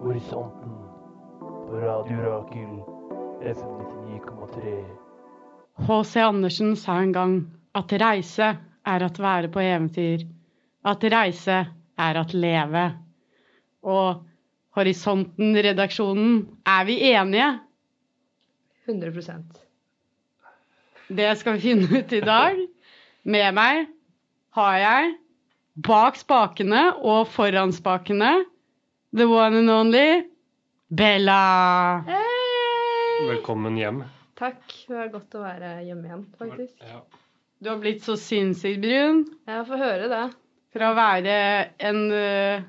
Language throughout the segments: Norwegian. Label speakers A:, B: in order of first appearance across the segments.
A: Horisonten på Radio Rakel FM 99,3.
B: H.C. Andersen sa en gang at reise er at være på eventyr. At reise er at leve. Og Horisonten-redaksjonen, er vi enige?
C: 100
B: Det skal vi finne ut i dag. Med meg har jeg bak spakene og foran spakene the one and only Bella.
C: Hei!
D: Velkommen hjem.
C: Takk. Det er godt å være hjemme igjen, faktisk.
D: Ja.
B: Du har blitt så sinnssykt brun
C: Jeg får høre det.
B: fra å være en uh,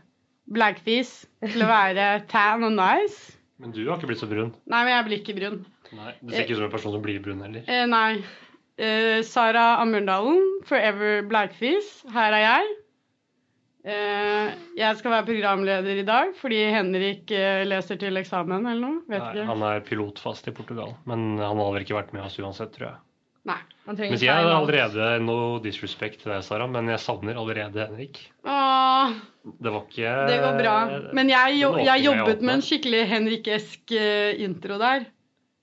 B: blackfis til å være tan og nice.
D: Men du har ikke blitt så brun.
B: Nei, men jeg blir ikke brun.
D: Nei, Du ser ikke ut som en person som blir brun heller.
B: Eh, nei. Eh, Sara Amundalen, Forever Blackfish. Her er jeg. Eh, jeg skal være programleder i dag fordi Henrik eh, leser til eksamen eller noe. Vet
D: Nei,
B: ikke.
D: han er pilotfast i Portugal, men han hadde ikke vært med oss uansett, tror jeg.
B: Nei.
C: Man trenger
D: Men jeg har
C: time out.
D: allerede no disrespect til deg, Sara, men jeg savner allerede Henrik.
B: Åh,
D: Det var ikke
B: det går bra.
D: Eh,
B: Men jeg, jo,
D: Den
B: jeg
D: åpningen jeg
B: jobbet med en
D: åpnet.
B: skikkelig henrikesk eh, intro der.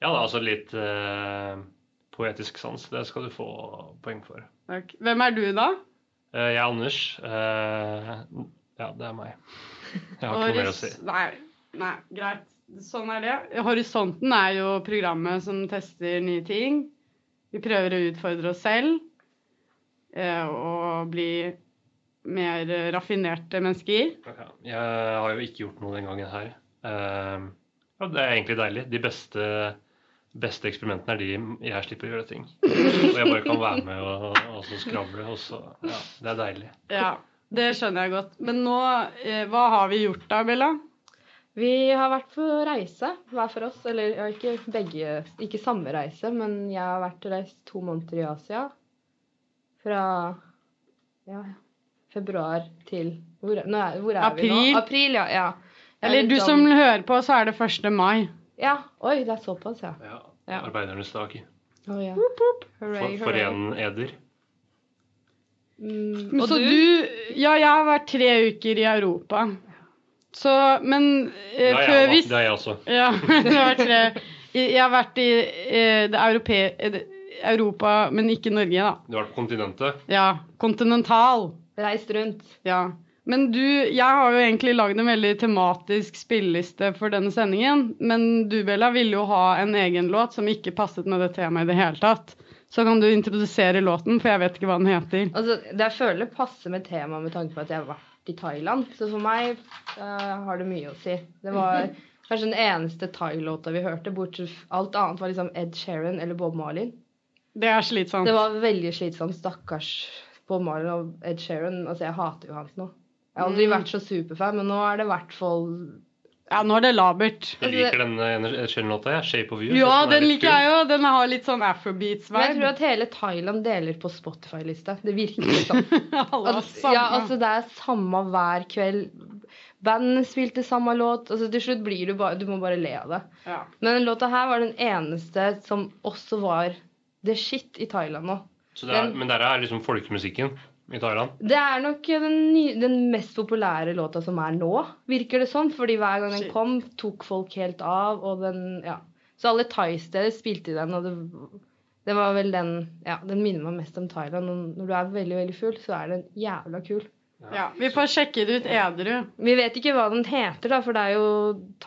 D: Ja, da, altså litt eh, poetisk sans. Det skal du få poeng for.
B: Takk. Hvem er du, da?
D: Eh, jeg er Anders. Eh, ja, det er meg. Jeg har ikke noe mer å si.
B: Horis- Nei, nei, greit. Sånn er det. Horisonten er jo programmet som tester nye ting. Vi prøver å utfordre oss selv eh, og bli mer eh, raffinerte mennesker.
D: Ja, Jeg har jo ikke gjort noe den gangen her. Eh, ja, det er egentlig deilig. De beste, beste eksperimentene er de jeg slipper å gjøre ting. Og jeg bare kan være med og, og så skravle. Og så, ja, det er deilig.
B: Ja, det skjønner jeg godt. Men nå, eh, hva har vi gjort da, Bella?
C: Vi har vært på reise hver for oss. Eller ja, ikke begge, ikke samme reise, men jeg har vært og reist to måneder i Asia. Fra ja, februar til Hvor, nå er, hvor er vi
B: April.
C: nå? April, ja. ja. Jeg er
B: Eller
C: litt
B: du som
C: sånn-
B: hører på, så er det 1. mai.
C: Ja. Oi, det er såpass, ja.
D: Ja,
C: Ja.
D: Arbeidernes dag.
C: Å, ja.
D: For,
C: Hooray,
D: for
C: hooray.
D: en
B: Eh,
D: eder.
C: Mm,
B: Men
C: og
B: så du? Ja, jeg har vært tre uker i Europa. Så, men
D: Det
B: eh,
D: er
B: før vi
D: jeg, da. det er jeg også.
B: Ja, det har vært tre. Jeg har vært i eh, det europe... eh, det- Europa, men ikke Norge, da.
D: Du har vært på kontinentet.
B: Ja, kontinental.
C: Reist rundt.
B: Ja. Men du, jeg har jo egentlig lagd en veldig tematisk spilleliste for denne sendingen. Men du, Bella, ville jo ha en egen låt som ikke passet med det temaet i det hele tatt. Så kan du introdusere låten, for jeg vet ikke hva den heter.
C: Altså, det jeg føler passer med temaet med tanke på at jeg har vært i Thailand. Så for meg eh, har det mye å si. Det var kanskje den eneste thailåta vi hørte. Bortsett f- alt annet var liksom Ed Sheeran eller Bob Marley.
B: Det er sånn. slitsomt.
C: Det var veldig slitsomt. Stakkars Bob Marley og Ed Sheeran. Altså, jeg hater jo han nå. Jeg har aldri
B: Mm.
C: vært så superfan, men nå er det i hvert fall
B: Ja, nå er det labert.
D: Jeg liker denne Shell-låta. Shape of you.
B: Altså, Ja,
D: Det som er
B: den
D: litt
B: liker
D: kul.
B: jeg jo. Den har litt sånn
C: Men jeg tror
B: afrobeats-vibe.
C: at hele Thailand deler på Spotify-lista. Det virker sånn.
B: Alle har
C: Al- Ja,
B: samme.
C: altså det er samme hver kveld. Bandene spilte samme låt. Altså Til slutt blir du bare Du må bare le av det.
B: Ja.
C: Men den låta her var den eneste som også var the shit i Thailand nå.
D: Så det er, men der er liksom folkemusikken i Thailand.
C: Det er nok den, ny, den mest populære låta som er nå, virker det som. Fordi hver gang den
B: Shit.
C: kom, tok folk helt av, og den Ja. Så alle thaisteder spilte den, og det, det var vel den Ja, den minner meg mest om Thailand. Og når du er veldig, veldig full, så er den jævla kul.
B: Ja, vi får sjekke det ut edru.
C: Vi vet ikke hva den heter, da, for det er jo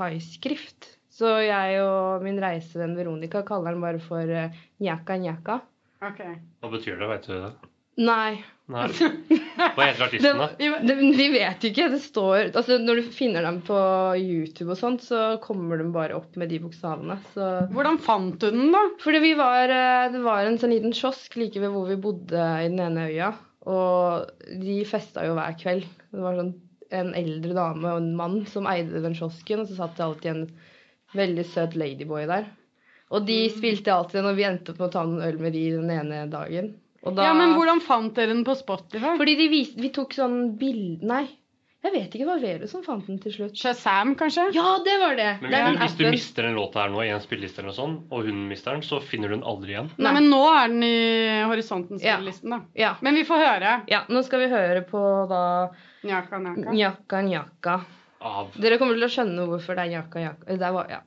C: thaiskrift. Så jeg og min reisevenn Veronica kaller den bare for eh, njaka njaka.
D: Hva betyr det, veit du det?
C: Nei.
D: Nei. Hva heter artisten, da?
C: Den- den- vi vet ikke. Det står Altså, når du finner dem på YouTube og sånt, så kommer de bare opp med de bokstavene. Så
B: Hvordan fant du den, da?
C: Fordi vi var eh, Det var en sånn liten kiosk like ved hvor vi bodde i den ene øya. Og de festa jo hver kveld. Det var sånn en eldre dame og en mann som eide den kiosken, og så satt det alltid en veldig søt ladyboy der. Og de
D: Mm.
C: spilte alltid, og vi endte opp med å ta en øl med de den ene dagen. Og da,
B: Ja, men Hvordan fant dere den på Spotify?
C: Fordi de viste, vi tok sånn bilde... Nei, jeg vet ikke. Det var Vero som fant den til slutt.
B: Shazam, kanskje?
C: Ja, det var det!
D: Men
C: det er den
D: hvis, du, hvis du
C: appen.
D: mister den låta her nå i en spilleliste eller noe sånt, og hun mister den, så finner du den aldri igjen.
B: Nei, men nå er den i horisontens
C: Ja.
B: spillelisten, da.
C: Ja.
B: Men vi får høre.
C: ja. Nå skal vi høre på da
B: Njaka, njaka.
C: Njaka njaka.
D: av.
C: Dere kommer til å skjønne hvorfor det er jaka jaka eh, det er, hva- ja.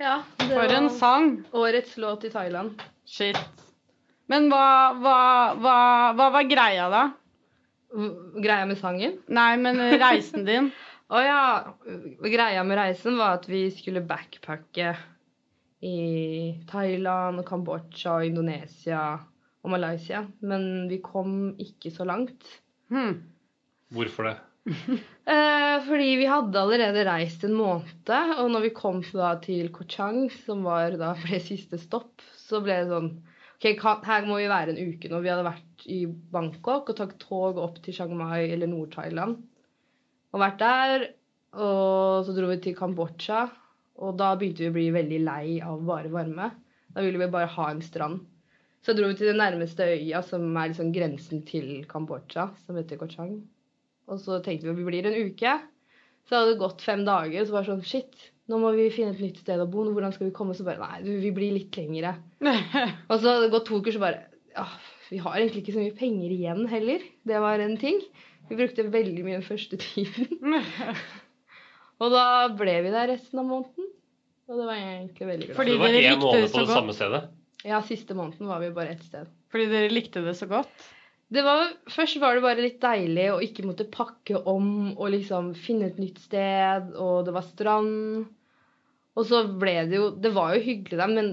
C: ja. Det
B: For en
C: var
B: sang!
C: årets låt i Thailand.
B: Shit. Men hva, hva, hva, hva var greia, da?
C: V- Mm, Greia med sangen?
B: Nei, men reisen din.
C: Å ja. Greia med reisen var at vi skulle backpacke i Thailand og Kambodsja og Indonesia og Malaysia. Men vi kom ikke så langt.
B: Hm.
D: Hvorfor det?
C: Eh, fordi vi hadde allerede reist en måned, og når vi kom da til Koh Chang, som var da ble siste stopp, så ble det sånn Ok, kan, her må vi være en uke nå. Vi hadde vært i Bangkok og tatt tog opp til Chiang Mai eller Nord-Thailand. Og vært der. Og så dro vi til Kambodsja, og da begynte vi å bli veldig lei av bare varme. Da ville vi bare ha en strand. Så dro vi til den nærmeste øya, som er liksom grensen til Kambodsja, som heter Koh Chang. Og så tenkte vi at vi blir en uke. Så hadde det gått fem dager, så var det sånn Shit, nå må vi finne et nytt sted å bo. Hvordan skal vi komme? Så bare Nei, du, vi blir litt lengre. Og så hadde det gått to uker, så bare Ja, vi har egentlig ikke så mye penger igjen heller. Det var en ting. Vi brukte veldig mye den første tiden. Og da ble vi der resten av måneden. Og det var jeg egentlig veldig glad
B: Fordi
D: Så det var
B: dere
D: én
B: likte
D: måned
B: det så
D: på det
B: godt.
D: samme stedet?
C: for. Ja, siste måneden var vi bare ett sted.
B: Fordi dere likte det så godt.
C: Det var, først var det bare litt deilig å ikke måtte pakke om og liksom finne et nytt sted, og det var strand. Og så ble det jo Det var jo hyggelig der, men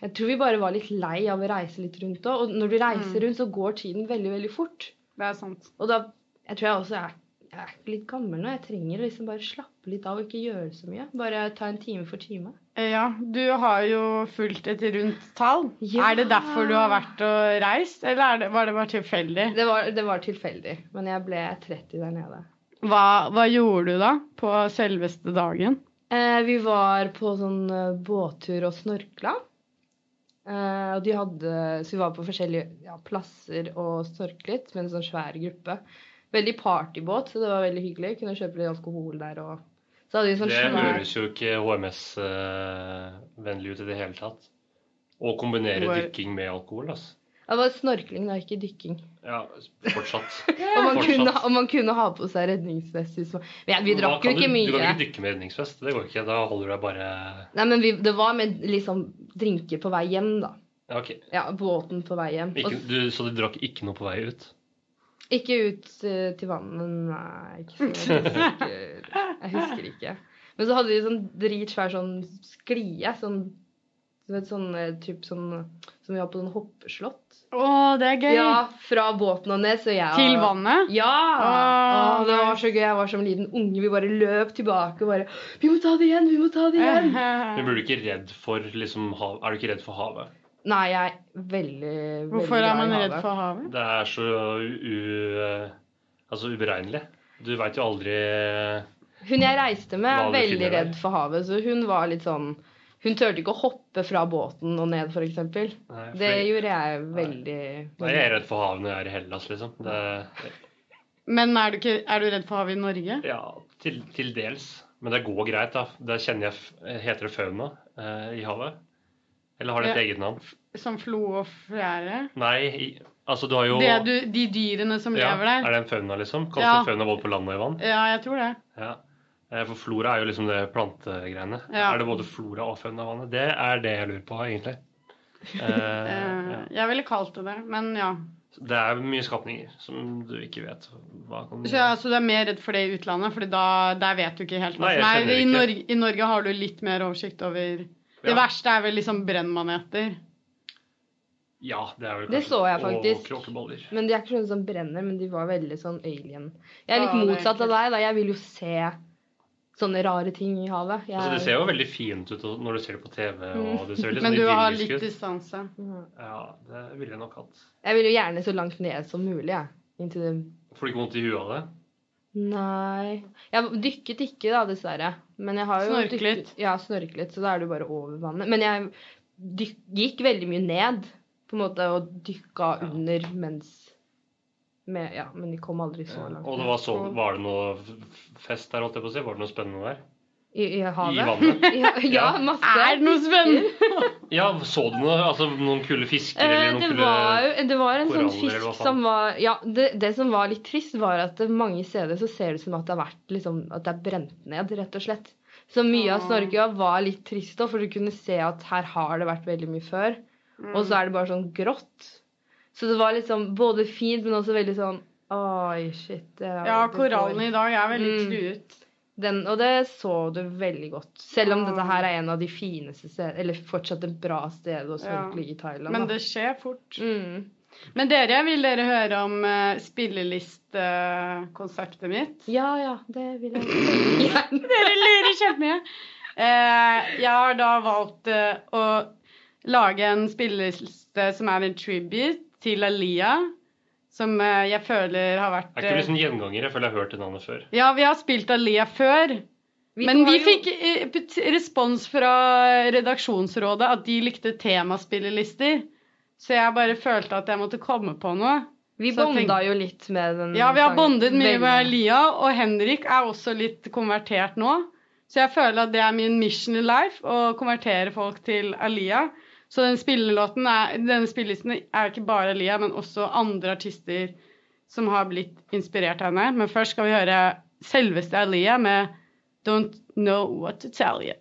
C: jeg tror vi bare var litt lei av å reise litt rundt òg. Og når du reiser rundt, så går tiden veldig, veldig fort.
B: Det er sant.
C: Og da Jeg tror jeg også er, jeg er litt gammel nå. Jeg trenger å liksom bare slappe litt av og ikke gjøre så mye. Bare ta en time for time.
B: Eh, Ja, du har jo fulgt et rundt tall.
C: Ja.
B: Er det derfor du har vært og reist, eller er det, var det bare tilfeldig?
C: Det var, det var tilfeldig, men jeg ble 30 der nede.
B: Hva, hva gjorde du da på selveste dagen?
C: Eh, vi var på sånn eh, båttur og snorkla. Eh, og de hadde, så vi var på forskjellige ja, plasser og snorklet med en sånn svær gruppe. Veldig partybåt, så det var veldig hyggelig. Kunne kjøpe litt alkohol der og Så hadde vi en sånn
D: Det
C: svær
D: høres jo ikke HMS-vennlig ut i det hele tatt. Å kombinere
B: Hvor-
D: dykking med alkohol, altså.
C: Det var snorkling, da, ikke dykking.
D: Ja, fortsatt.
C: Og man,
D: Fortsatt.
C: kunne, og man kunne ha på seg redningsvest. hvis man- Men ja, vi
D: Hva
C: drakk jo
D: kan
C: ikke
D: du, Du kan
C: mye.
D: ikke dykke med redningsvest. Det går ikke. Da holder du deg bare
C: Nei, men vi, det var med liksom drinker på vei hjem, da.
D: ja, ok.
C: Ja, båten på vei hjem.
D: Ikke,
C: Og
D: du, så du drakk ikke noe på vei ut?
C: Ikke ut eh, til vannet, nei. Ikke så jeg husker, jeg husker ikke. Men så hadde de sånn dritsvær sånn sklie. Sånn, du vet, sånn eh, typ sånn som vi har på sånn hoppeslott.
B: Å, det er gøy!
C: Ja, fra båten og ned. Så jeg
B: Til vannet?
C: Ja!
B: Ah,
C: Å, det var så gøy. Jeg var som en liten unge. Vi bare løp tilbake og bare Vi må ta det igjen! Vi må ta det
B: Eh,
C: igjen!
D: Men blir du ikke redd for liksom, hav, Er du ikke redd for havet?
C: Nei, jeg er veldig, veldig
B: Hvorfor er man
C: glad i
B: redd
C: havet.
B: for havet?
D: Det er så u, altså, uberegnelig. Du veit jo aldri eh,
C: Hun jeg reiste med,
D: Hva
C: er
D: du
C: veldig
D: finner der.
C: redd for havet, så hun var litt sånn Hun turte ikke å hoppe fra båten og ned, f.eks.
D: Nei,
C: Det
D: fordi-
C: gjorde jeg veldig
D: Nei, jeg er redd for havet når jeg er i Hellas, liksom. Det,
B: Men er du, ikke, er du redd for havet i Norge?
D: ja, til, til dels. Men det går greit, da. Der kjenner jeg f- Heter det fauna eh, i havet? Eller har det et eget navn?
B: Som flo og fjære?
D: Nei, i, altså du har jo
B: Det du, de dyrene som
D: ja,
B: lever der?
D: Er det en fauna, liksom? Kalles
B: Ja.
D: det fauna både på land og i vann?
B: Ja, jeg tror det.
D: Ja. Eh, For flora er jo liksom det plantegreiene.
B: Ja.
D: Er det både flora og fauna i vannet? Det er det jeg lurer på, egentlig. Eh,
B: Eh,
D: ja.
B: Jeg ville kalt det det, men ja.
D: Det er mye skapninger som du ikke vet hva kan
B: Så, ja, så du er mer redd for det i utlandet, for der vet du ikke helt hva
D: Nei, jeg
B: som er.
D: kjenner
B: I
D: ikke.
B: Norge, I Norge har du litt mer oversikt over Det
D: Ja.
B: verste er vel liksom brennmaneter.
D: Ja, det er vel
C: Det så jeg faktisk.
D: Og kråkeboller.
C: Men de er ikke sånne som brenner, men de var veldig sånn alien. Jeg er
B: Ja,
C: litt
B: det er
C: motsatt av
B: ekkelt.
C: deg, da. Jeg vil jo se sånne rare ting i havet. Jeg,
D: Altså, det ser jo veldig fint ut og- når du ser det på TV. og det ser veldig
B: Men
D: sånn
B: du har
D: idyllisk
B: litt
D: ut.
B: distanse.
C: Mhm.
D: Ja, det ville jeg nok hatt.
C: jeg vil jo gjerne så langt ned som mulig, jeg. Inntil det
D: Får du ikke vondt i huet av det?
C: Nei Jeg dykket ikke, da, dessverre. Men jeg har jo
B: Snorklet.
C: dykket- Ja, snorklet, så da er du bare over vannet. Men jeg dyk, gikk veldig mye ned, på en måte, og dykka
D: Ja.
C: under mens Med, ja, men de kom aldri så langt.
D: Og det var, så, var det noe f- fest der, holdt jeg på å si? Var det noe spennende der?
C: I, i havet?
D: I vannet?
C: Ja, ja
D: Ja.
C: masse.
B: Er det noe spennende?
D: Ja, så du noe? Altså noen kule fisker
C: Eh,
D: eller
C: Det
D: noen kule
C: var, jo- det var en sånn
D: koraller, eller hva
C: fisk
D: faen?
C: som var Ja, det, det som var litt trist, var at det, mange steder så ser det ut som at det har vært liksom, At det er brent ned, rett og slett. Så mye av
B: Åh.
C: snorkøya var litt trist, da, for du kunne se at her har det vært veldig mye før.
B: Mm.
C: Og så er det bare sånn grått. Så det var liksom både fint, men også veldig sånn Oi, shit. det er-
B: Ja,
C: det går-
B: korallene i dag er veldig
C: Mm.
B: truet.
C: Den, og det så du veldig godt. Selv om
B: Åh.
C: dette her er en av de fineste stedene, eller fortsatt et bra sted å
B: Ja.
C: snorkle i Thailand.
B: Men
C: da.
B: det skjer fort.
C: mm.
B: Men dere, vil dere høre om eh, spillelistekonseptet mitt?
C: Ja, ja, det vil jeg veldig gjerne.
B: Dere lurer kjempemye. Eh, jeg har da valgt eh, å lage en spilleliste som er en tribute til Alia, som eh, jeg føler har vært
D: Er ikke det
B: eh,
D: sånn gjenganger? Jeg føler jeg har hørt det navnet før.
B: Ja, vi har spilt Alia før. Men
C: har
B: vi
C: jo-
B: fikk eh, pet- respons fra redaksjonsrådet at de likte temaspillelister. Så jeg bare følte at jeg måtte komme på noe.
C: Vi
B: så
C: bonda
B: tenk-
C: jo litt med den.
B: Ja, vi har
C: sangen.
B: bondet mye
C: Veldig.
B: med Lia, og Henrik er også litt konvertert nå. Så jeg føler at det er min mission in life, å konvertere folk til Alia. Så den spillelåten er, denne spillelisten er ikke bare Alia, men også andre artister som har blitt inspirert av henne. Men først skal vi høre selveste Alia med Don't Know What To Tell You.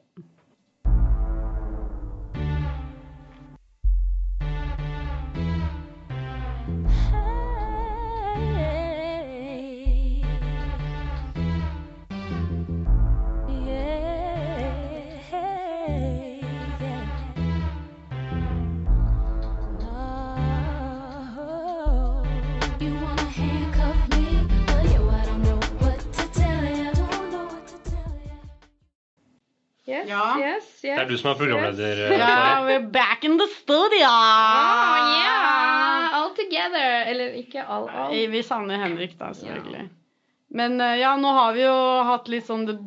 E: Hey. Yeah, yeah. No. You wanna handcuff me, but yo, I don't know what to tell you. I don't know what to tell you.
C: Yes,
B: Ja.
C: yes, yes.
D: Det er du som er programleder. eh,
B: Ja,
D: Sara.
B: we're back in the studio!
C: Ah, yeah. All together. Eller ikke all, all.
B: Nei, Vi savner Henrik, da, selvfølgelig. Men eh, ja, nå har vi jo hatt litt sånn the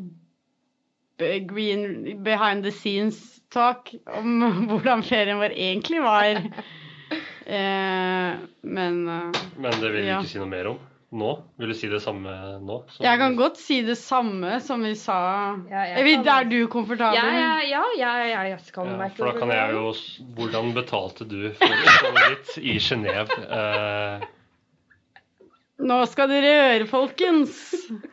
B: b- green behind the scenes talk om hvordan ferien vår egentlig var. eh, men eh,
D: Men det vil vi
B: Ja.
D: ikke si noe mer om nå. Vil du si det samme nå? som-
B: jeg kan godt si det samme som vi sa.
C: Ja, jeg
B: Evy,
C: kan-
B: er du komfortabel?
C: Ja, ja, ja, ja, ja, jeg skal
D: Ja,
C: meg
D: for da kan jeg jo s- Hvordan betalte du for å komme hit i Genéve? Eh,
B: Nå skal dere høre, folkens.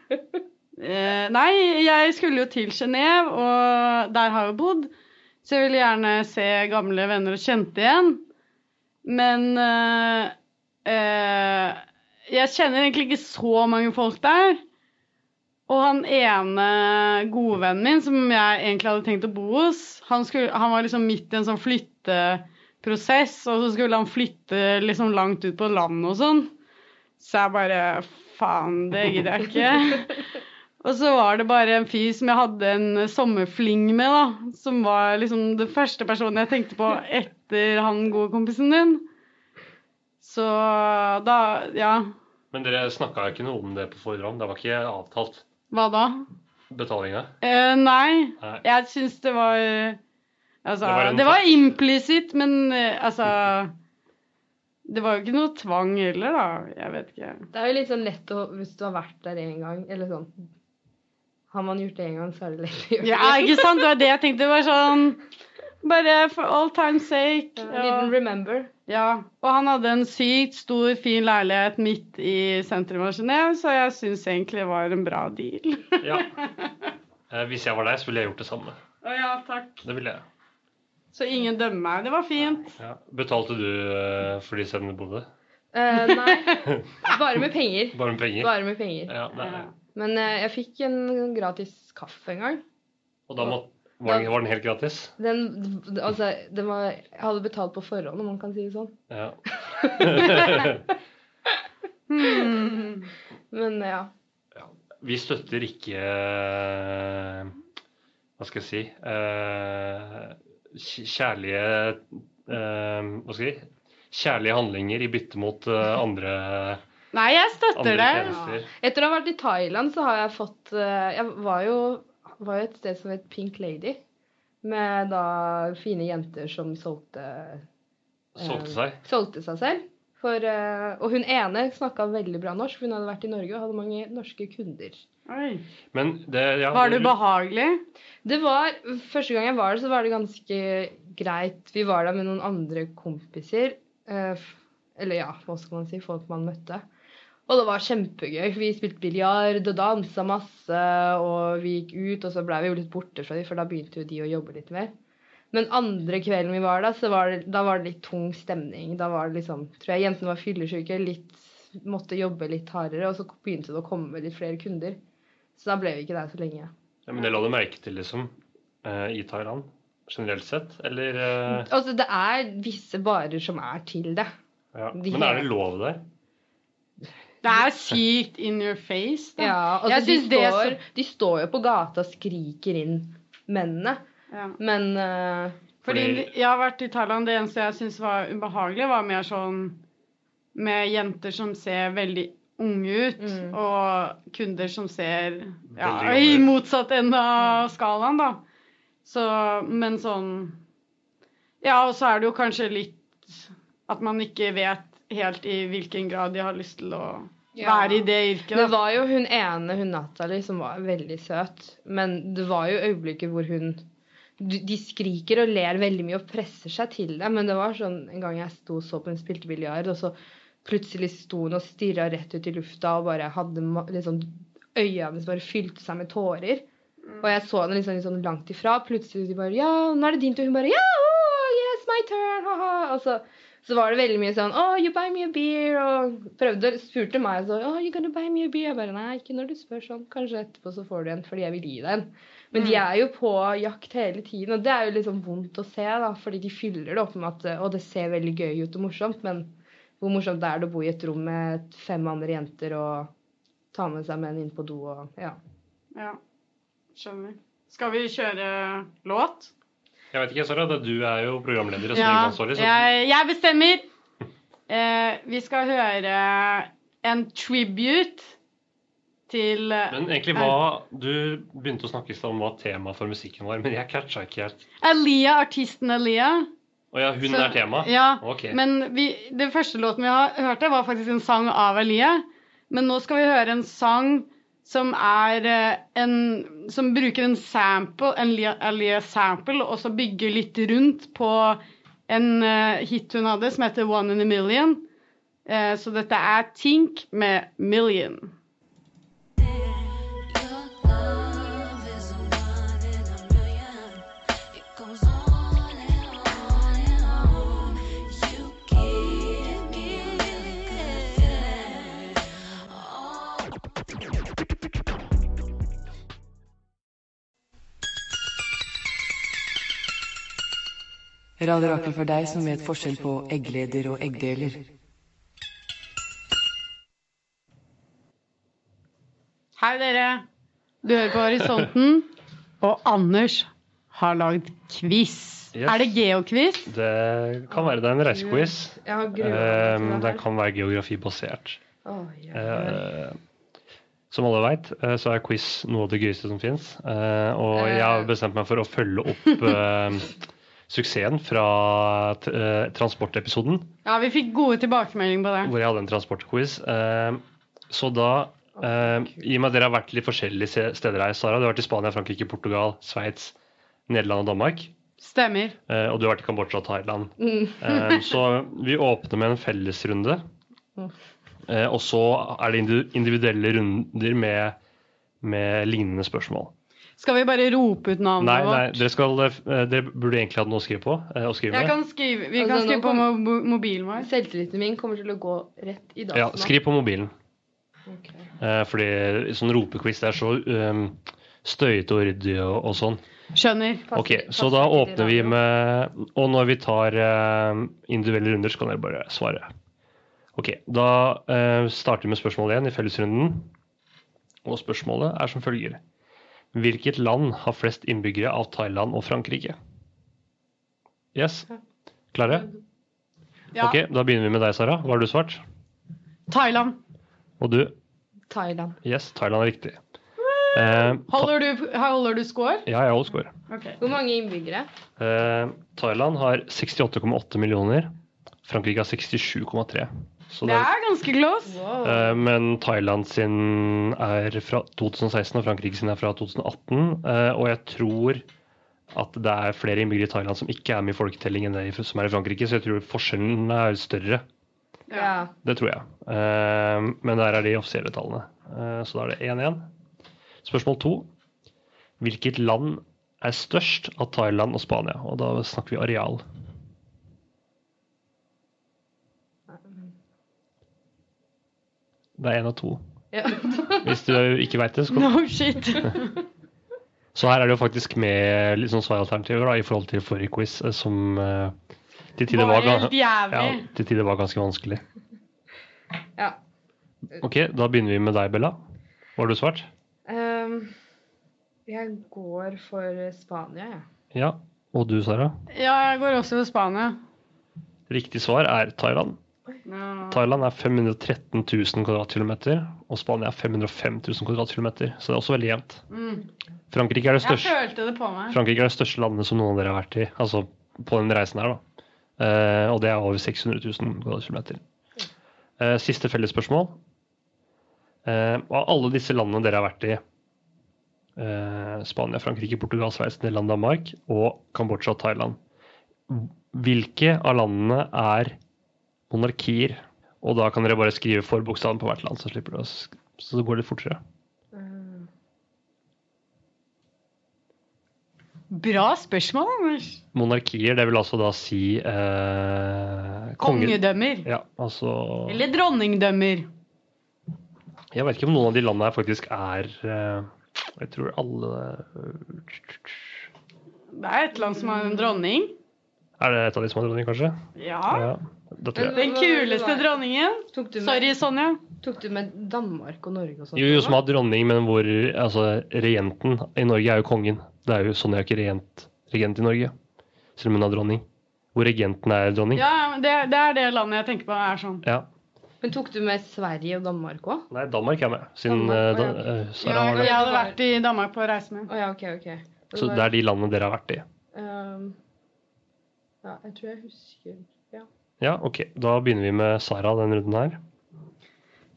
B: Eh, nei, jeg skulle jo til Genéve, og der har jeg jo bodd. Så jeg ville gjerne se gamle venner og kjente igjen. Men eh, eh, jeg kjenner egentlig ikke så mange folk der. Og han ene godvennen min, som jeg egentlig hadde tenkt å bo hos, han, skulle, han var liksom midt i en sånn flytteprosess, og så skulle han flytte liksom langt ut på landet og sånn. Så jeg bare Faen, det gidder jeg ikke. Og så var det bare en fyr som jeg hadde en sommerfling med, da. Som var liksom den første personen jeg tenkte på etter han gode kompisen din. Så da Ja,
D: men dere snakka ikke noe om det på forhånd? Det var ikke avtalt
B: hva da?
D: betalinga?
B: Eh, nei,
D: Nei.
B: jeg syns det var Altså,
D: Det var en
B: det var, implisitt, men eh, altså Det var jo ikke noe tvang heller, da. Jeg vet ikke.
C: Det er jo litt sånn lett å Hvis du har vært der én gang, eller sånn Har man gjort det én gang, så er det lett å gjøre
B: Ja, ikke sant? Det var det jeg tenkte. Det var sånn Bare for all time's sake.
C: Ja,
B: Ja.
C: Didn't remember.
B: ja. Og han hadde en sykt stor, fin leilighet midt i sentrum av Genéve, så jeg syns egentlig det var en bra deal.
D: Ja. Eh, hvis jeg var deg, så ville jeg gjort det samme.
B: Å ja, takk.
D: Det ville jeg.
B: Så ingen dømmer meg. Det var fint.
D: Ja. Betalte du eh, for de stedene du bodde?
C: Eh, nei. Bare med penger.
D: Bare med penger?
C: Bare med penger.
D: Ja, nei.
B: Ja.
C: Men eh, jeg fikk en gratis kaffe en gang.
D: Og da må, var, den, var den helt gratis?
C: Den, altså, den var, jeg hadde betalt på forhånd, om man kan si det sånn.
D: Ja.
B: Hmm.
C: Men eh, ja.
D: Vi støtter ikke eh, Hva skal jeg si eh, kj- Kjærlige eh, Hva skal jeg si? Kjærlige handlinger i bytte mot eh, andre,
B: Nei, jeg
D: andre
B: støtter det.
D: tjenester.
C: Etter å ha vært i Thailand, så har jeg fått eh, Jeg var jo, var jo et sted som het Pink Lady. Med da fine jenter som solgte, eh,
D: Solgte seg.
C: solgte seg selv. For, eh, og hun ene snakka veldig bra norsk, for hun hadde vært i Norge og hadde mange norske kunder.
B: Oi.
D: Men det ja,
B: Var du behagelig?
C: Det var, Første gang jeg var der, så var det ganske greit. Vi var der med noen andre kompiser. eh, f- Eller ja, hva skal man si, folk man møtte. Og det var kjempegøy. Vi spilte biljard og dansa masse. Og vi gikk ut, og så blei vi jo litt borte fra de, for da begynte jo de å jobbe litt mer. Men andre kvelden vi var der, så var det, da var det litt tung stemning. Da var det liksom, tror jeg jentene var fyllesyke, litt, måtte jobbe litt hardere. Og så begynte det å komme litt flere kunder. Så da ble vi ikke der så lenge.
D: ja, Men det la du merke til, liksom, eh, i Thailand generelt sett? Eller eh,
C: Altså, det er visse varer som er til det.
D: ja.
C: De-
D: Men er det lov der?
B: Det er sykt in your face, da.
C: Ja, altså,
B: Jeg
C: de,
B: synes det
C: står, de står jo på gata og skriker inn mennene,
B: Ja.
C: men eh,
B: Fordi
D: Fordi-
B: jeg har vært i Thailand, det eneste jeg syntes var ubehagelig, var mer sånn med jenter som ser veldig unge ut,
C: Mm.
B: og kunder som ser ja,
D: Veldig gamle
B: i
D: ut.
B: motsatt ende av
C: Mm.
B: skalaen, da. Så, men sånn Ja, og så er det jo kanskje litt at man ikke vet helt i hvilken grad de har lyst til å
C: Ja.
B: være i det yrket.
C: Det
B: Da.
C: var jo hun ene, hun Natalie, som var veldig søt, men det var jo øyeblikket hvor hun du- de skriker og ler veldig mye og presser seg til det, men det var sånn en gang jeg sto og så på hun spilte biljard, og så plutselig sto hun og stirra rett ut i lufta og bare hadde ma- liksom Øya hennes bare fylte seg med tårer. Og jeg så henne liksom, litt sånn langt ifra. Plutselig de bare Ja, nå er det din tur. Hun bare Ja, oh, yes, my turn. Altså, Haha. Og så, så var det veldig mye sånn Oh, you buy me a beer. Og prøvde, spurte meg så Oh, you gonna buy me a beer? Jeg bare Nei, ikke når du spør sånn. Kanskje etterpå så får du en fordi jeg vil gi deg en. Men de er jo på jakt hele tiden, og det er jo litt sånn vondt å se, da. Fordi de fyller det opp med at Å, det ser veldig gøy ut og morsomt, men hvor morsomt det er det å bo i et rom med fem andre jenter og ta med seg menn inn på do og Ja.
B: Ja. Skjønner. Skal vi kjøre låt?
D: Jeg vet ikke, Sara. det- Du er jo programleder og
B: Ja,
D: sendingansvarlig, så
B: jeg, jeg bestemmer. Eh, vi skal høre en tribute til eh,
D: Men egentlig hva Du begynte å snakke i stad om hva temaet for musikken var, men jeg catcha ikke helt.
B: Alia, artisten Alia.
D: Å ja, hun
B: Så-
D: er tema?
B: Ja,
D: Ok.
B: Men vi, den første låten vi har hørte, var faktisk en sang av Alia. Men nå skal vi høre en sang som er eh, en Som bruker en sample, en Lia- Alia-sample, og så bygger litt rundt på en eh, hit hun hadde som heter One in a Million. Eh, Så dette er Tink med Million.
E: Your love is a one in a million. It goes on and on and on. You give me good feeling. Oh.
F: Radiorakel for deg som vet forskjell på eggleder og eggdeler.
B: Hei, dere. Du hører på Horisonten. Og Anders har lagd quiz.
D: Yes.
B: Er det geoquiz?
D: Det kan være det er en reisequiz.
C: Jeg har grua
D: Um,
C: meg til det
D: den
C: her.
D: kan være geografibasert.
C: Åh, jeg gjør det.
D: Eh, som alle veit, eh, så er quiz noe av det gøyeste som fins. Eh, og
C: Eh.
D: jeg har bestemt meg for å følge opp eh, suksessen fra t eh, transportepisoden,
B: Ja, vi fikk gode tilbakemeldinger på det.
D: hvor jeg hadde en transportquiz. Eh, så da eh, I og med at dere har vært litt forskjellige se- steder her, Sara. Du har vært i Spania, Frankrike, Portugal, Sveits, Nederland og Danmark.
B: Stemmer.
D: Eh, og du har vært i Kambodsja og Thailand.
C: Mm.
D: Eh, så vi åpner med en fellesrunde. Eh, og så er det indi- individuelle runder med, med lignende spørsmål.
B: Skal vi bare rope ut navnet
D: Nei, nei,
B: vårt?
D: dere, skal, eh, dere burde egentlig hatt noe å skrive på. eh, å skrive
B: Jeg
D: med.
B: kan skrive, vi
C: Altså,
B: kan
C: nå
B: skrive på
C: kan-
B: mo- mobilen vår.
C: Selvtilliten min kommer til å gå rett i dagen.
D: Ja, skriv på mobilen.
C: Ok.
D: Eh, fordi sånn ropequiz det er så um, støyete og ryddig og, og sånn.
B: Skjønner.
C: Passer-
D: Ok, Så
C: passer
D: da
C: ikke til
D: åpner vi
C: radio.
D: med Og når vi tar eh, individuelle runder, så kan dere bare svare. Ok, Da eh, starter vi med spørsmål én i fellesrunden. Og spørsmålet er som følger Hvilket land har flest innbyggere av Thailand og Frankrike? Yes? Klare?
B: Ja.
D: Ok, Da begynner vi med deg, Sara. Hva har du svart?
B: Thailand.
D: Og du?
C: Thailand.
D: Yes, Thailand er riktig. Eh,
B: Holder du, holder du score?
D: ja, jeg holder score.
B: Ok.
C: Hvor mange innbyggere?
D: Eh, Thailand har 68,8 millioner. Frankrike har 67,3. Så
B: Det
D: det,
B: er ganske close.
C: Wow.
D: eh, men Thailand sin er fra 2016, og Frankrike sin er fra 2018. eh, og jeg tror at det er flere innbyggere i Thailand som ikke er med i folketellingen enn det som er i Frankrike, så jeg tror forskjellen er større.
C: Ja.
D: Det tror jeg. Eh, Men der er de offisielle tallene. Eh, Så da er det 1-1. Spørsmål to. Hvilket land er størst av Thailand og Spania? Og da snakker vi areal. Det er én av to.
C: Ja.
D: Hvis du ikke veit det, så kan
B: No shit.
D: så her er det jo faktisk med litt sånn svaralternativer da, i forhold til forrige quiz, eh, som eh, til tider
B: Var
D: var,
B: helt
D: gan- ja,
B: jævlig.
D: til tider var ganske vanskelig.
C: Ja.
D: Ok, da begynner vi med deg, Bella. Hva har du svart?
C: Ehm, jeg går for Spania, jeg.
D: Ja. Og du, Sara?
B: Ja, jeg går også for Spania.
D: Riktig svar er Thailand.
B: Ja.
D: Thailand er 513 000 kvadratkilometer, og Spania er 505 000 kvadratkilometer. Så det er også veldig jevnt.
B: Mm.
D: Frankrike er det
B: Jeg
D: største,
B: følte det på meg.
D: Frankrike er det største landet som noen av dere har vært i, altså på den reisen her, da. Eh, og det er over 600 000 kvadratkilometer. Eh, siste fellesspørsmål. Eh, av alle disse landene dere har vært i, eh, Spania, Frankrike, Portugal, Sveits, Nederland, Danmark og Kambodsja og Thailand, hvilke av landene er monarkier? Og da kan dere bare skrive forbokstaven på hvert land, så slipper dere å sk- så går det fortere.
C: Ehm,
B: Bra spørsmål, Anders.
D: Monarkier, det vil altså da si eh, konge-
B: Kongedømmer.
D: Ja, altså
B: Eller dronningdømmer.
D: Jeg vet ikke om noen av de landene her faktisk er eh, Jeg tror alle Er
B: Det er et land som har en dronning.
D: det et av de som har dronning, kanskje?
B: Ja.
D: Ja. Da tror jeg.
B: Den kuleste dronningen.
C: tok, du med,
B: Sorry, Sonja.
C: tok du med Danmark og Norge og sånt?
D: Jo, jo, som
C: også?
D: har dronning, men hvor altså, regenten i Norge er jo kongen. Det er jo sånn jeg er ikke regent, regent i Norge, selv om hun er dronning. Hvor regenten er dronning.
B: Ja, men det, det er det landet jeg tenker på er sånn.
D: Ja.
C: Men tok du med Sverige og Danmark òg?
D: Nei, Danmark er med, siden
C: Danmark,
D: eh,
C: ja.
D: da, eh, Sara
B: Ja,
D: var
B: jeg
D: det.
B: hadde vært i Danmark på å reise med.
C: Å ja, OK, OK.
D: Så det er de landene dere har vært i.
C: Ehm, ja, jeg tror jeg husker Ja.
D: Ja, ok. Da begynner vi med Sara den runden her.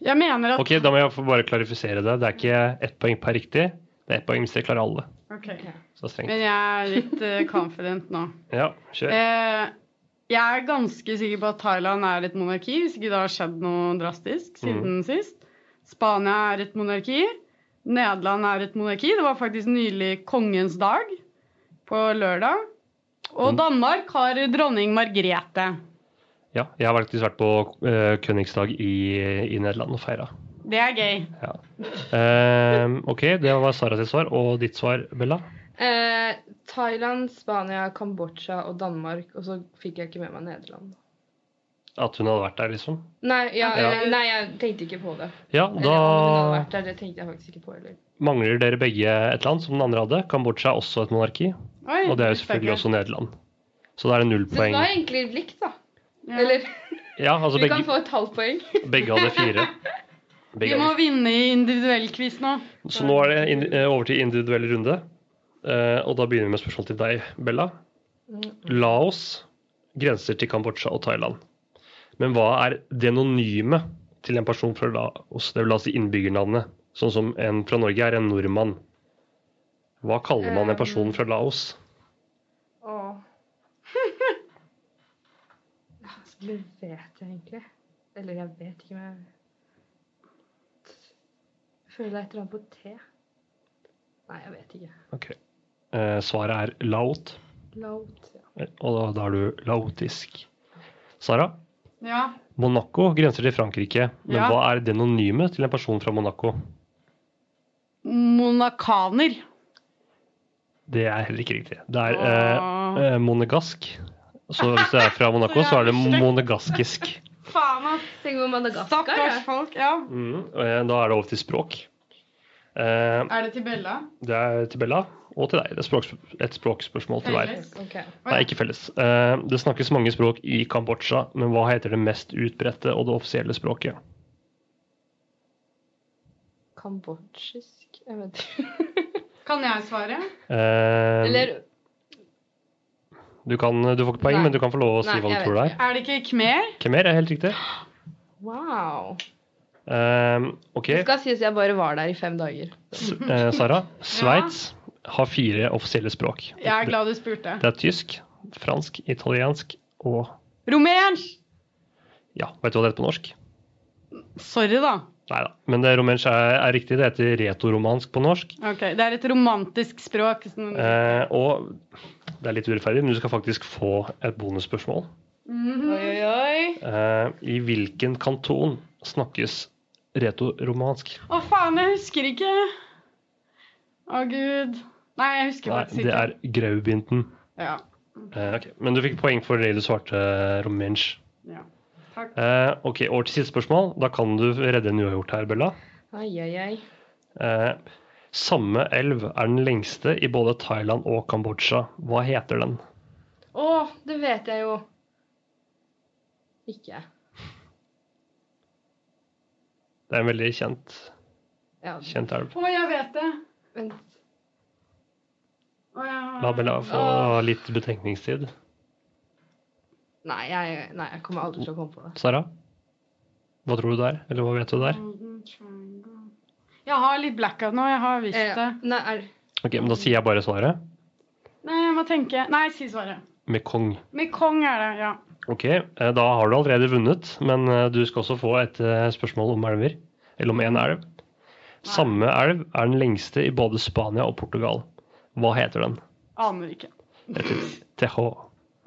B: Jeg mener at
D: Ok, Da må jeg få bare klarifisere det. Det er ikke ett poeng per riktig. Det er ett poeng hvis dere klarer alle.
B: Ok.
D: Så strengt.
B: Men jeg er litt eh, confident nå.
D: Ja, kjør.
B: Eh, jeg er ganske sikker på at Thailand er et monarki, hvis ikke det har skjedd noe drastisk siden
D: Mm.
B: sist. Spania er et monarki. Nederland er et monarki. Det var faktisk nylig kongens dag på lørdag. Og
D: Mm.
B: Danmark har dronning Margrethe.
D: Ja, jeg har faktisk vært på uh, Königsdag i, i Nederland og feira.
B: Det er gøy.
D: Ja. Ehm, ok, det var Sara sitt svar. Og ditt svar, Bella?
C: Eh, Thailand, Spania, Kambodsja og Danmark, og så fikk jeg ikke med meg Nederland.
D: At hun hadde vært der, liksom?
C: Nei, ja,
D: Ja.
C: eh, nei jeg tenkte ikke på det.
D: Ja,
C: Eller
D: da
C: om hun hadde vært der, det tenkte jeg faktisk ikke på heller.
D: mangler dere begge et land som den andre hadde. Kambodsja er også et monarki,
B: Oi,
D: og det er jo selvfølgelig også Nederland. Så da er det null
C: Mm, Så det
D: poeng.
C: var egentlig likt, da.
B: Ja.
C: Eller
D: Ja, altså
C: vi kan
D: begge,
C: få et halvt poeng.
D: begge hadde fire.
B: Vi
D: Begge
B: må
D: hadde.
B: vinne i individuell quiz nå.
D: Så nå er det indi- eh, over til individuell runde. Eh, og da begynner vi med spørsmål til deg, Bella. Laos grenser til Kambodsja og Thailand. Men hva er denonyme til en person fra Laos, det vil altså innbyggernavnet? Sånn som en fra Norge er en nordmann. Hva kaller man en person fra Laos?
C: Åh. Altså, Det vet jeg egentlig. Eller jeg vet ikke, men jeg jeg føler det er et eller annet på T. Nei, jeg vet ikke.
D: Ok. Eh, svaret er laot,
C: Laut. Ja.
D: og da, da er du laotisk. Sara,
B: Ja.
D: Monaco grenser til Frankrike, men
B: Ja.
D: hva er denonyme til en person fra Monaco?
B: Monakaner.
D: Det er heller ikke riktig. Det er
B: Åh.
D: eh, eh, monegask. Så hvis det er fra Monaco, så er det monegaskisk.
B: Faen, ass.
C: Tenk på Madagaskar.
B: Stakkars
C: jeg.
B: folk. Ja.
D: Mm, og, eh, da er det over til språk. Eh,
B: Er det til Bella?
D: det er til Bella og til deg. Det er språks et språkspørsmål til hver.
B: Felles.
C: Ok.
D: Nei, ikke felles. Eh, det snakkes mange språk i Kambodsja, men hva heter det mest utbredte og det offisielle språket?
C: Kambodsjisk? Jeg vet ikke.
B: Kan jeg svare?
D: Eh,
C: Eller
D: Du, kan, du får ikke poeng,
C: Nei.
D: men du kan få lov å si
C: Nei,
D: hva du
C: jeg
D: tror det
C: vet
D: er.
B: Er det ikke khmer?
D: Khmer er helt riktig.
C: Wow.
D: Ehm, ok,
C: Det skal sies jeg bare var der i fem dager.
D: S eh, Sara. Sveits har fire offisielle språk.
B: Jeg er glad du spurte.
D: Det er tysk, fransk, italiensk og
B: Rumensk!
D: Ja, vet du hva det heter på norsk?
B: Sorry, da.
D: Nei da. Men det rumensk er, er riktig. Det heter retoromansk på norsk.
B: Ok, Det er et romantisk språk. Sånn.
D: Eh, og det er litt urettferdig, men du skal faktisk få et bonusspørsmål.
C: Oi,
B: Mhm.
C: oi, oi.
D: Eh, I hvilken kanton snakkes retoromansk?
B: Å, faen, jeg husker ikke. Å, gud. Nei, jeg husker
D: Nei,
B: faktisk
D: det
B: ikke.
D: er Graubünden.
B: Ja.
D: Eh, ok, Men du fikk poeng for det du svarte eh, rumensk.
B: ja. Takk.
D: Eh, ok, Over til siste spørsmål. Da kan du redde en uavgjort her, Bella.
C: Ai, ai, ai.
D: Eh, samme elv er den lengste i både Thailand og Kambodsja. Hva heter den?
C: Å, det vet jeg jo. Ikke.
D: Det er en veldig kjent,
C: Ja,
D: kjent elv.
B: Å, jeg vet det.
C: vent.
B: Å, jeg har-
D: La Bella få litt betenkningstid.
C: Nei jeg, nei, jeg kommer aldri til å komme på det.
D: Sara? Hva tror du det er? Eller hva vet du det er?
B: Golden Triangle. Jeg har litt blackout nå. Jeg har visst det.
C: Eh, nei, er,
D: Ok, men Da sier jeg bare svaret.
B: Nei, jeg må tenke. Nei, si svaret.
D: Mekong.
B: Mekong er det, ja.
D: Ok, eh, da har du allerede vunnet, men eh, du skal også få et eh, spørsmål om elver. Eller om én elv. Samme elv er den lengste i både Spania og Portugal. Hva heter den?
B: Aner ikke.
D: TH.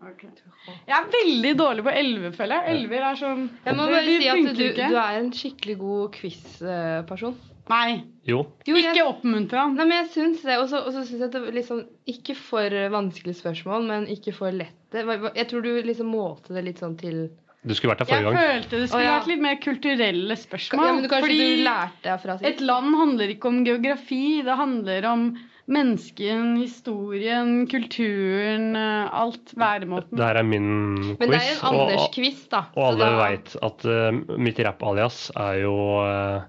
B: Ok. Jeg er veldig dårlig på elver, føler jeg. Elver er sånn
C: jeg må
B: Det-
C: bare
B: det
C: si at
B: funker
C: du,
B: ikke.
C: du er en skikkelig god quiz-person.
B: Nei,
D: Jo,
C: Jo, jeg-
B: ikke oppmuntre han.
C: Nei, men jeg syns det. Og så og så syns jeg at det var liksom Ikke for vanskelige spørsmål, men ikke for lette. Hva- hva- Jeg tror du liksom målte det litt sånn til
D: du skulle vært der
B: Jeg
D: forrige gang.
B: følte det skulle
C: Å, ja.
B: vært litt mer kulturelle spørsmål.
C: ja, men du, Kanskje
B: fordi
C: du lærte deg fra
B: et
C: sitt?
B: land handler ikke om geografi. Det handler om mennesken, historien, kulturen, eh, alt. Væremåten.
D: Det her er min
C: Men det er
D: quiz,
C: en
D: og,
C: Anders-quiz, da.
D: og
C: så
D: alle
C: da-
D: veit at eh, mitt rapp-alias er jo eh,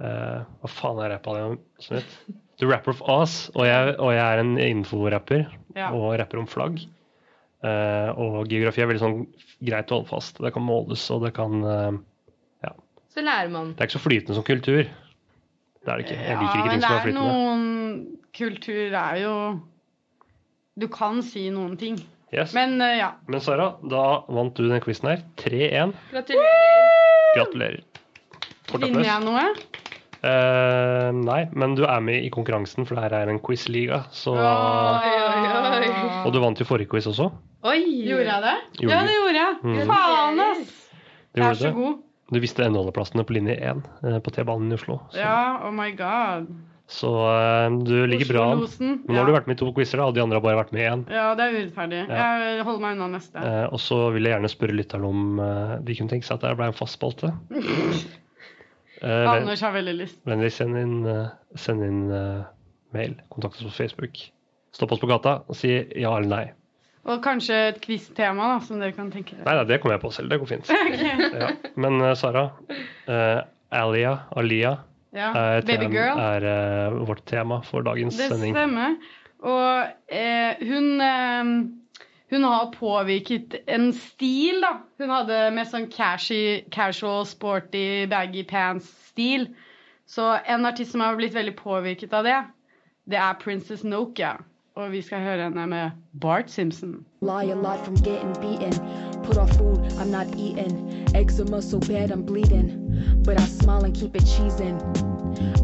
D: eh, Hva faen er rapp-aliaset mitt? The Rapper of Oz. Og jeg, og jeg er en inforapper
B: Ja.
D: og rapper om flagg. Eh, og geografi er veldig sånn greit å holde fast. Det kan måles, og det kan eh,
C: Så lærer man.
D: Det er ikke så flytende som kultur. Det er det ikke. Jeg
B: Ja,
D: liker ikke
B: men
D: ting
B: det
D: som er
B: er
D: flytende.
B: noen Kultur er jo Du kan si noen ting.
D: Yes. Men,
B: Men eh, ja.
D: Sara, da vant du den quizen her. 3-1.
C: Gratulerer.
D: Gratulerer. Kort
B: Vinner
D: applaus.
B: jeg noe?
D: Eh, nei, men du er med i konkurransen, for det her er en quizliga. Så...
B: Åh.
C: Oi, oi, oi.
D: Og du vant jo forrige quiz også.
C: Oi!
B: Gjorde jeg det?
D: Gjorde
B: ja,
D: du.
B: det gjorde jeg.
D: Mm.
B: Faen, ass!
D: Du,
B: Jeg
D: gjorde
B: er så
D: det.
B: god.
D: du visste endeholdeplassene på linje 1 eh, på T-banen i Oslo. Så,
B: Ja, oh my god.
D: så eh, du ligger bra an.
B: Oslo-losen.
D: Men nå har du vært med i to quizer, da, og de andre har bare vært med i én.
B: Ja, det er urettferdig.
D: Ja.
B: Jeg holder meg unna neste.
D: Eh, og så vil jeg gjerne spørre lytterne om eh, de kunne tenke seg at det her ble en fast spalte. Eh, ven-
B: Anders har veldig lyst.
D: Vennligst send inn, eh, send inn eh, mail. Kontakt oss på Facebook. Stopp oss på gata og si ja eller nei.
B: Og kanskje et quiz-tema, da, som dere kan tenke dere.
D: Nei, nei, det kommer jeg på selv. Det går fint. ja. Men eh, Sara, eh, Alia, Alia
B: Ja.
D: er,
B: Baby
D: tem-
B: girl.
D: er eh, vårt tema for dagens
B: Det
D: sending.
B: stemmer. Og eh, hun eh, hun har påvirket en stil, da. Hun hadde med sånn cashy, casual, sporty, baggy pants-stil. Så en artist som har blitt veldig påvirket av det, det er Princess Nokia. Og vi skal høre henne med Bart Simpson.
G: Lie a lot from getting beaten. Put off food, I'm not eating. Eczema so bad I'm bleeding. But I smile and keep it cheesing.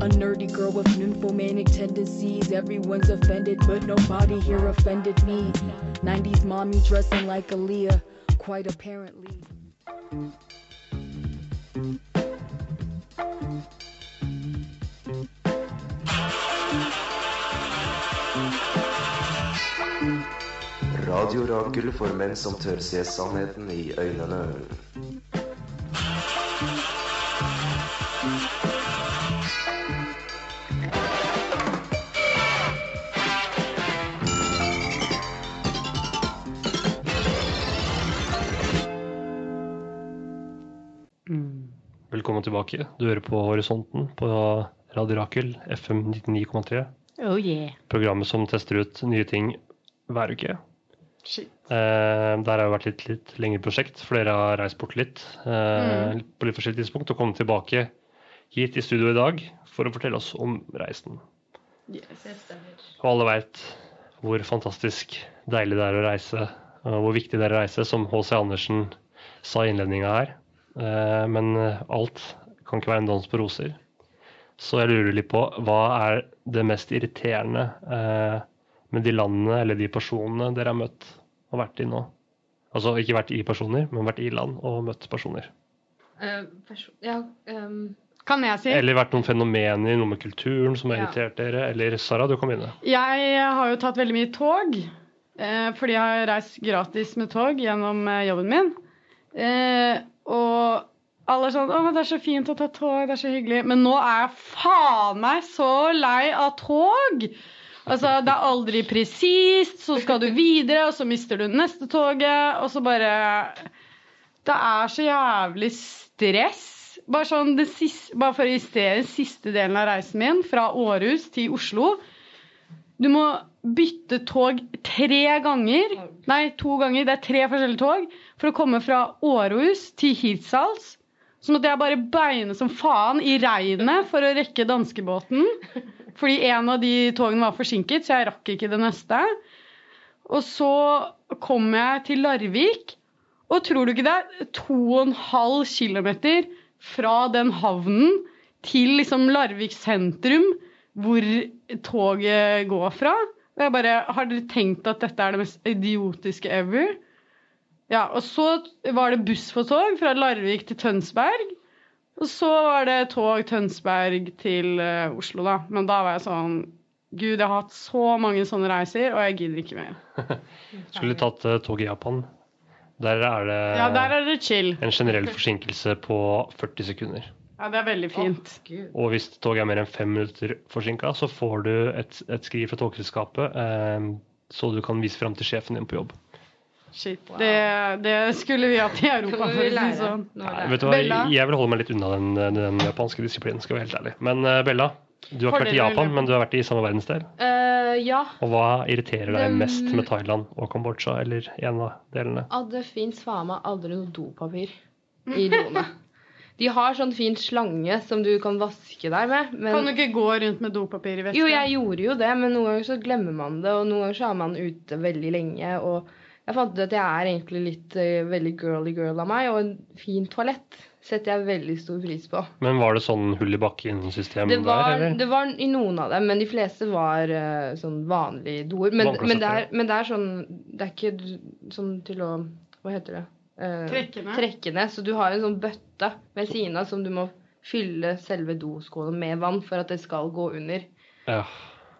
G: A nerdy girl with nymphomanic tendencies. Everyone's offended, but nobody here offended me. 90s mommy dressing like Aaliyah, quite apparently.
H: Radiorakel for menn som tør se sannheten i øynene.
D: Velkommen tilbake. Du hører på Horisonten på Radio Rakel, FM 99,3.
B: Oh yeah.
D: Programmet som tester ut nye ting hver uke.
B: Shit.
D: Eh, der har jo vært litt, litt lengre prosjekt, for dere har reist bort litt eh, på litt forskjellige tidspunkt og kommet tilbake hit i studio i dag for å fortelle oss om reisen. Og alle veit hvor fantastisk deilig det er å reise, og hvor viktig det er å reise, som H.C. Andersen sa i innledninga her. Eh, Men alt kan ikke være en dans på roser. Så jeg lurer litt på hva er det mest irriterende eh, med de landene eller de personene dere har møtt og vært i nå? Altså ikke vært i personer, men vært i land og møtt personer.
C: Eh, perso- ja, ehm,
B: Kan jeg si?
D: Eller vært noen fenomener, noe med kulturen som har
C: Ja.
D: irritert dere. Eller Sara, du kan begynne.
B: Jeg har jo tatt veldig mye tog, eh, fordi jeg har reist gratis med tog gjennom eh, jobben min. Eh, og alle er sånn 'Å, det er så fint å ta tog, det er så hyggelig'. Men nå er jeg faen meg så lei av tog! Altså, det er aldri presist, så skal du videre, og så mister du neste toget, og så bare Det er så jævlig stress. Bare, sånn, det siste, bare for å illustrere den siste delen av reisen min, fra Århus til Oslo. Du må bytte tog tre ganger. Nei, to ganger. Det er tre forskjellige tog. For å komme fra Århus til Hirtshals. Så måtte jeg bare beine som faen i regnet for å rekke danskebåten. Fordi en av de togene var forsinket, så jeg rakk ikke det neste. Og så kom jeg til Larvik, og tror du ikke det er 2,5 km fra den havnen til liksom Larvik sentrum hvor toget går fra. Og jeg bare Har dere tenkt at dette er det mest idiotiske ever? Ja, og så var det buss for tog fra Larvik til Tønsberg. Og så var det tog Tønsberg til eh, Oslo, da. Men da var jeg sånn Gud, jeg har hatt så mange sånne reiser, og jeg gidder ikke mer.
D: Skulle tatt eh, tog i Japan. Der er det
B: Ja, der er det chill.
D: en generell forsinkelse på 40 sekunder.
B: Ja, det er veldig fint.
D: Og hvis toget er mer enn fem minutter forsinka, så får du et, et skriv fra togselskapet, eh, så du kan vise fram til sjefen din på jobb.
B: Shit. Det, det skulle vi hatt i
C: det
B: Europa.
C: må
B: for å
C: vi
B: si det
C: lære.
B: Sånn.
C: Nå
D: Nei,
C: er det-
D: vet du hva,
B: Bella?
D: Jeg vil holde meg litt unna den, den japanske disiplinen, skal jeg være helt ærlig. Men eh, Bella, du har ikke vært i
B: Fordeler,
D: Japan,
B: eller?
D: men du har vært i samme verdensdel.
C: Eh, ja,
D: Og hva irriterer deg
C: Det-
D: mest med Thailand og Kambodsja, eller en av delene?
C: at det fins faen meg aldri noe dopapir i doene. De har sånn fin slange som du kan vaske deg med. Men
B: Kan du ikke gå rundt med dopapir i veska?
C: Jo, jeg gjorde jo det, men noen ganger så glemmer man det, og noen ganger så er man ute veldig lenge. Og jeg fant ut at jeg er egentlig litt eh, veldig girly girl av meg, og en fin toalett setter jeg veldig stor pris på.
D: Men var det sånn hull i bakken-system
C: Det var,
D: der, eller?
C: det var i noen av dem, men de fleste var eh, sånn vanlige doer. Men,
D: Vannklosett,
C: men, det er,
D: ja.
C: men det er sånn Det er ikke d- sånn til å Hva heter det? Eh,
B: Trekke ned?
C: trekke ned. Så du har en sånn bøtte ved siden av som du må fylle selve doskålen med vann for at det skal gå under.
D: Ja.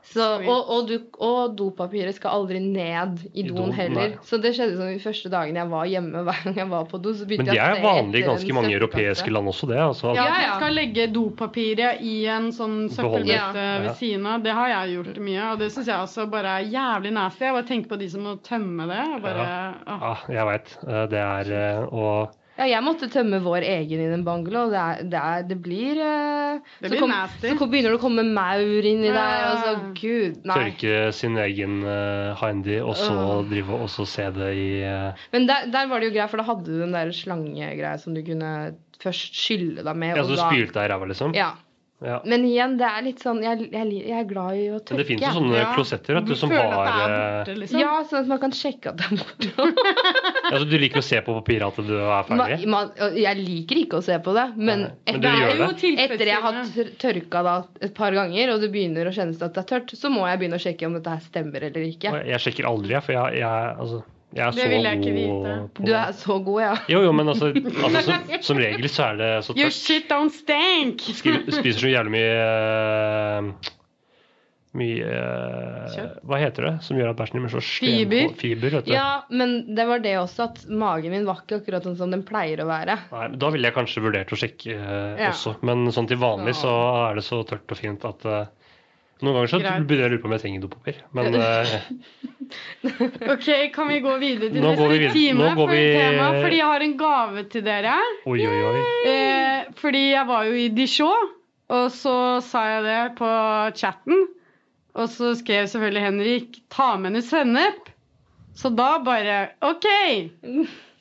C: Så, og, og, du, og dopapiret skal aldri ned i,
D: I
C: doen
D: doen,
C: heller.
D: nei.
C: Så det skjedde sånn de første dagene jeg var hjemme. Hver gang jeg var på do, så begynte
D: Men det
C: jeg å
D: er
C: se
D: vanlig
C: etter
D: i
C: en
D: ganske mange
C: søppelkasse.
D: europeiske land også, det.
B: Ja,
D: Altså,
C: Ja,
B: at
C: ja.
B: du skal legge dopapiret i en sånn
D: Beholder.
B: søppelbøtte
D: Ja.
B: ved siden av. Det har jeg gjort mye, og det syns jeg også bare er jævlig nasty. Jeg bare tenker på de som må tømme det. Og bare, åh.
D: Ja, Ah, jeg veit. Det er eh, Og
C: Ja, jeg måtte tømme vår egen i den bungalow. og Det, er, det, er, det blir eh,
B: Det
C: så
B: blir
C: kom-
B: nasty.
C: Så kom, begynner det å komme maur inni deg, og så
B: Ja.
C: Gud, nei.
D: tørke sin egen uh, hindy, og så
C: Åh.
D: drive og så se det i eh,
C: Men der, der var det jo greit, for da hadde du den der slangegreia som du kunne først skylle deg med.
D: Ja,
C: og
D: så du
C: da-
D: altså spylte deg i ræva, liksom?
C: Ja.
D: Ja.
C: Men igjen, det er litt sånn Jeg, jeg, lir- jeg er glad i å
D: Men
C: tørke.
D: det fins jo sånne
B: Ja.
D: klosetter vet du, som
B: Føler
D: har
B: at det er
D: eh,
B: borte, liksom.
C: Ja, sånn at man kan sjekke at det er borte.
D: altså, Du liker å se på papiret at du er ferdig?
C: Ma- ma- og jeg liker ikke å se på det, men
D: Nei. Men
C: etter,
D: dere gjør
B: jo
D: det?
C: etter jeg har
B: tilfredsstillende.
C: tør- tørka da et par ganger, og det begynner å kjennes at det er tørt, så må jeg begynne å sjekke om dette her stemmer eller ikke.
D: Og Jeg sjekker aldri, jeg, for jeg, jeg, altså, jeg er
B: Det
D: så
B: vil jeg ikke
D: god
B: vite.
D: på
C: Du er så god, ja.
D: Jo, jo, men altså, altså som, som regel så er det så
B: You
D: tørt.
B: shit don't stink!
D: Skriver- Spiser så jævlig mye eh, Mye eh,
B: Kjøtt.
D: Hva heter det som gjør at bæsjen din blir så slem?
B: Fiber.
D: på- Fiber, vet du.
C: Ja, men det var det også, at magen min var ikke akkurat sånn som den pleier å være.
D: Nei, men da ville jeg kanskje vurdert å sjekke eh,
B: Ja.
D: også, men sånn til vanlig så er det så tørt og fint at eh, noen ganger så
B: Greit.
D: begynner jeg å lure på om jeg trenger dopapir. Men eh,
B: OK, kan vi gå videre til
D: Nå går vi
B: neste
D: videre.
B: time?
D: Nå går
B: For,
D: vi-
B: tema, fordi jeg har en gave til dere.
D: oi, oi, oi.
B: Eh, fordi jeg var jo i Dijon, og så sa jeg det på chatten. Og så skrev selvfølgelig Henrik 'ta med henne sennep'. Så da bare OK!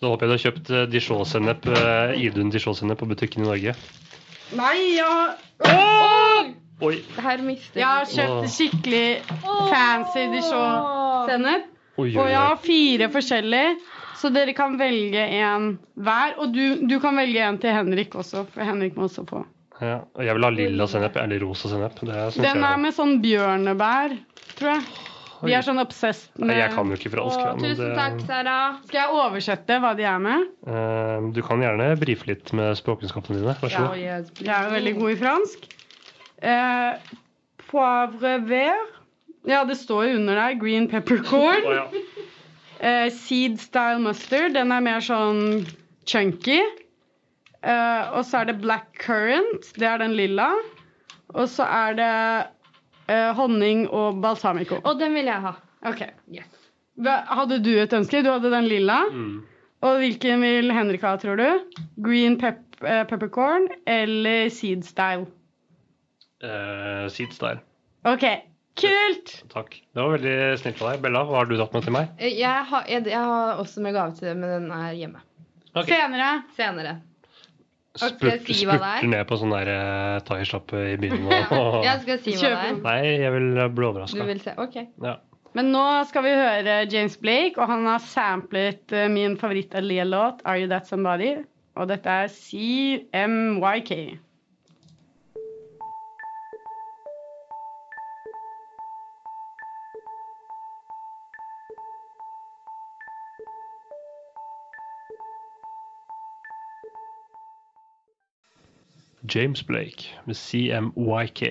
D: Da håper jeg du har kjøpt eh, Dijon-sennep, eh, Idun Dijon-sennep på butikken i Norge.
B: Nei, ja Åh!
D: Oi,
C: Her mister
B: Jeg har kjøpt skikkelig fancy Dijon-sennep.
D: oi, oi.
B: Og jeg
D: oi.
B: har fire forskjellige, så dere kan velge en hver. Og du, du kan velge en til Henrik også, for Henrik må også få.
D: Ja, og jeg vil ha lilla sennep, eller rosa sennep. Det synes
B: Den
D: jeg
B: er med sånn bjørnebær, tror jeg. De er sånn obsessed
D: Nei,
B: med
D: Jeg kan jo ikke fransk. da,
C: Å,
D: men
C: tusen
D: det-
C: takk, Sara.
B: Skal jeg oversette hva de er med?
D: Eh, Du kan gjerne brife litt med språkkunnskapene dine. Vær så god.
B: Jeg er jo veldig
D: Mm.
B: god i fransk. Eh, poivre vert. Ja, det står jo under der. Green peppercorn.
D: Å, ja.
B: Eh, seed style mustard. Den er mer sånn chunky. Eh, og så er det black currant. Det er den lilla. Og så er det eh, honning og balsamico.
C: Og den vil jeg ha.
B: Ok.
C: Yes.
B: Hva, hadde du et ønske? Du hadde den lilla.
D: Mm.
B: Og hvilken vil Henrik ha, tror du? Green pep eh, peppercorn eller seed style?
D: Eh, Seeds der.
B: Ok, kult!
D: Takk. Det var veldig snilt av deg. Bella, hva har du tatt med til meg?
C: Eh, Jeg har, jeg, jeg har også med gave til det, men den er hjemme.
D: Ok.
B: Senere.
C: Senere. Ok,
D: Spurt,
C: si hva det er.
D: spurter ned på sånn der eh, thaisjappe i byen. Og,
C: Jeg skal si hva det er.
B: Kjøp.
D: Nei, jeg vil bli
C: Du
D: overraska.
C: vil se? OK.
D: Ja.
B: Men nå skal vi høre James Blake, og han har samplet eh, min favoritt Alia-låt, 'Are You That Somebody', og dette er CMYK.
D: James Blake med CMYK.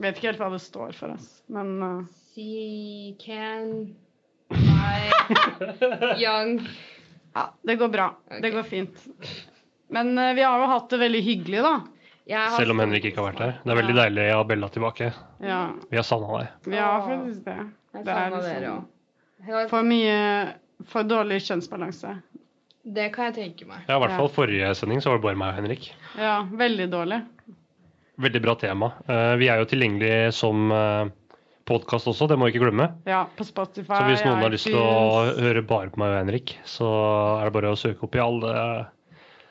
B: Vet ikke helt hva det står for, ass. men eh,
C: She can buy young
B: ja, det går bra. Det går fint. Men eh, vi har jo hatt det veldig hyggelig, da.
C: Jeg har-
D: Selv om Henrik ikke har vært her. Det er veldig deilig å ha Bella tilbake.
B: Ja,
D: Vi har savna deg.
B: vi har faktisk det.
C: Jeg
B: Det er
C: savner dere
B: liksom
C: også. Jeg-
B: for mye For dårlig kjønnsbalanse.
C: Det kan jeg tenke meg.
D: Ja, I hvert
B: Ja.
D: fall forrige sending så var det bare meg og Henrik.
B: Ja, veldig dårlig.
D: Veldig bra tema. Eh, Vi er jo tilgjengelig som podkast også, det må vi ikke glemme.
B: Ja, på Spotify.
D: Så hvis noen har lyst til å
B: iTunes.
D: høre bare på meg og Henrik, så er det bare å søke opp i alle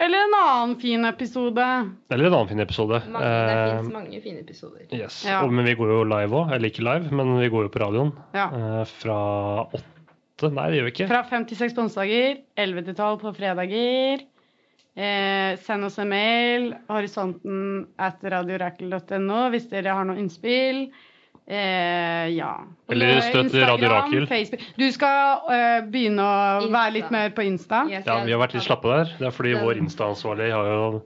B: Eller en annen fin episode.
D: Eller en annen fin episode.
C: Mange, det
D: Eh,
C: fins mange fine episoder.
D: Yes.
B: Ja.
D: Og, men vi går jo live òg. Eller ikke live, men vi går jo på radioen.
B: Ja.
D: Eh, Fra åtte Nei, det gjør vi ikke.
B: Fra 5 til 6 på onsdager, 11 til 12 på fredager. Eh, send oss en mail, horisonten at radiorakel.no hvis dere har noen innspill. Eh, ja. Og
D: Eller
B: nå,
D: støtt
B: Instagram,
D: Radio Rakel.
B: Facebook. Du skal eh, begynne å
C: Insta.
B: være litt mer på Insta?
C: Yes,
D: Ja,
C: jeg-
D: vi har vært litt slappe der. Det er fordi
C: Den-
D: vår Insta-ansvarlig har jo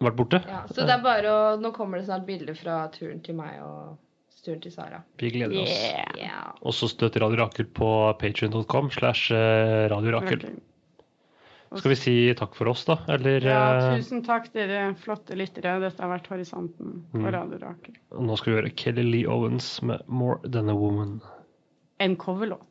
D: vært borte.
C: Ja, så det er bare å Nå kommer det snart bilder fra turen til meg og turen til Sara.
D: Vi gleder oss.
B: Yeah.
C: Yeah.
D: Og så støtt Radio Rakel på patreon.com slash eh, Radio Rakel.
B: Rakel.
D: Skal vi si takk for oss, da? Eller
B: Ja,
D: eh,
B: tusen takk, dere flotte lyttere. Dette har vært Horisonten på
D: Mm.
B: Radio Rakel.
D: nå skal vi høre Kelly Lee Owens med 'More Than A Woman'.
B: En coverlåt.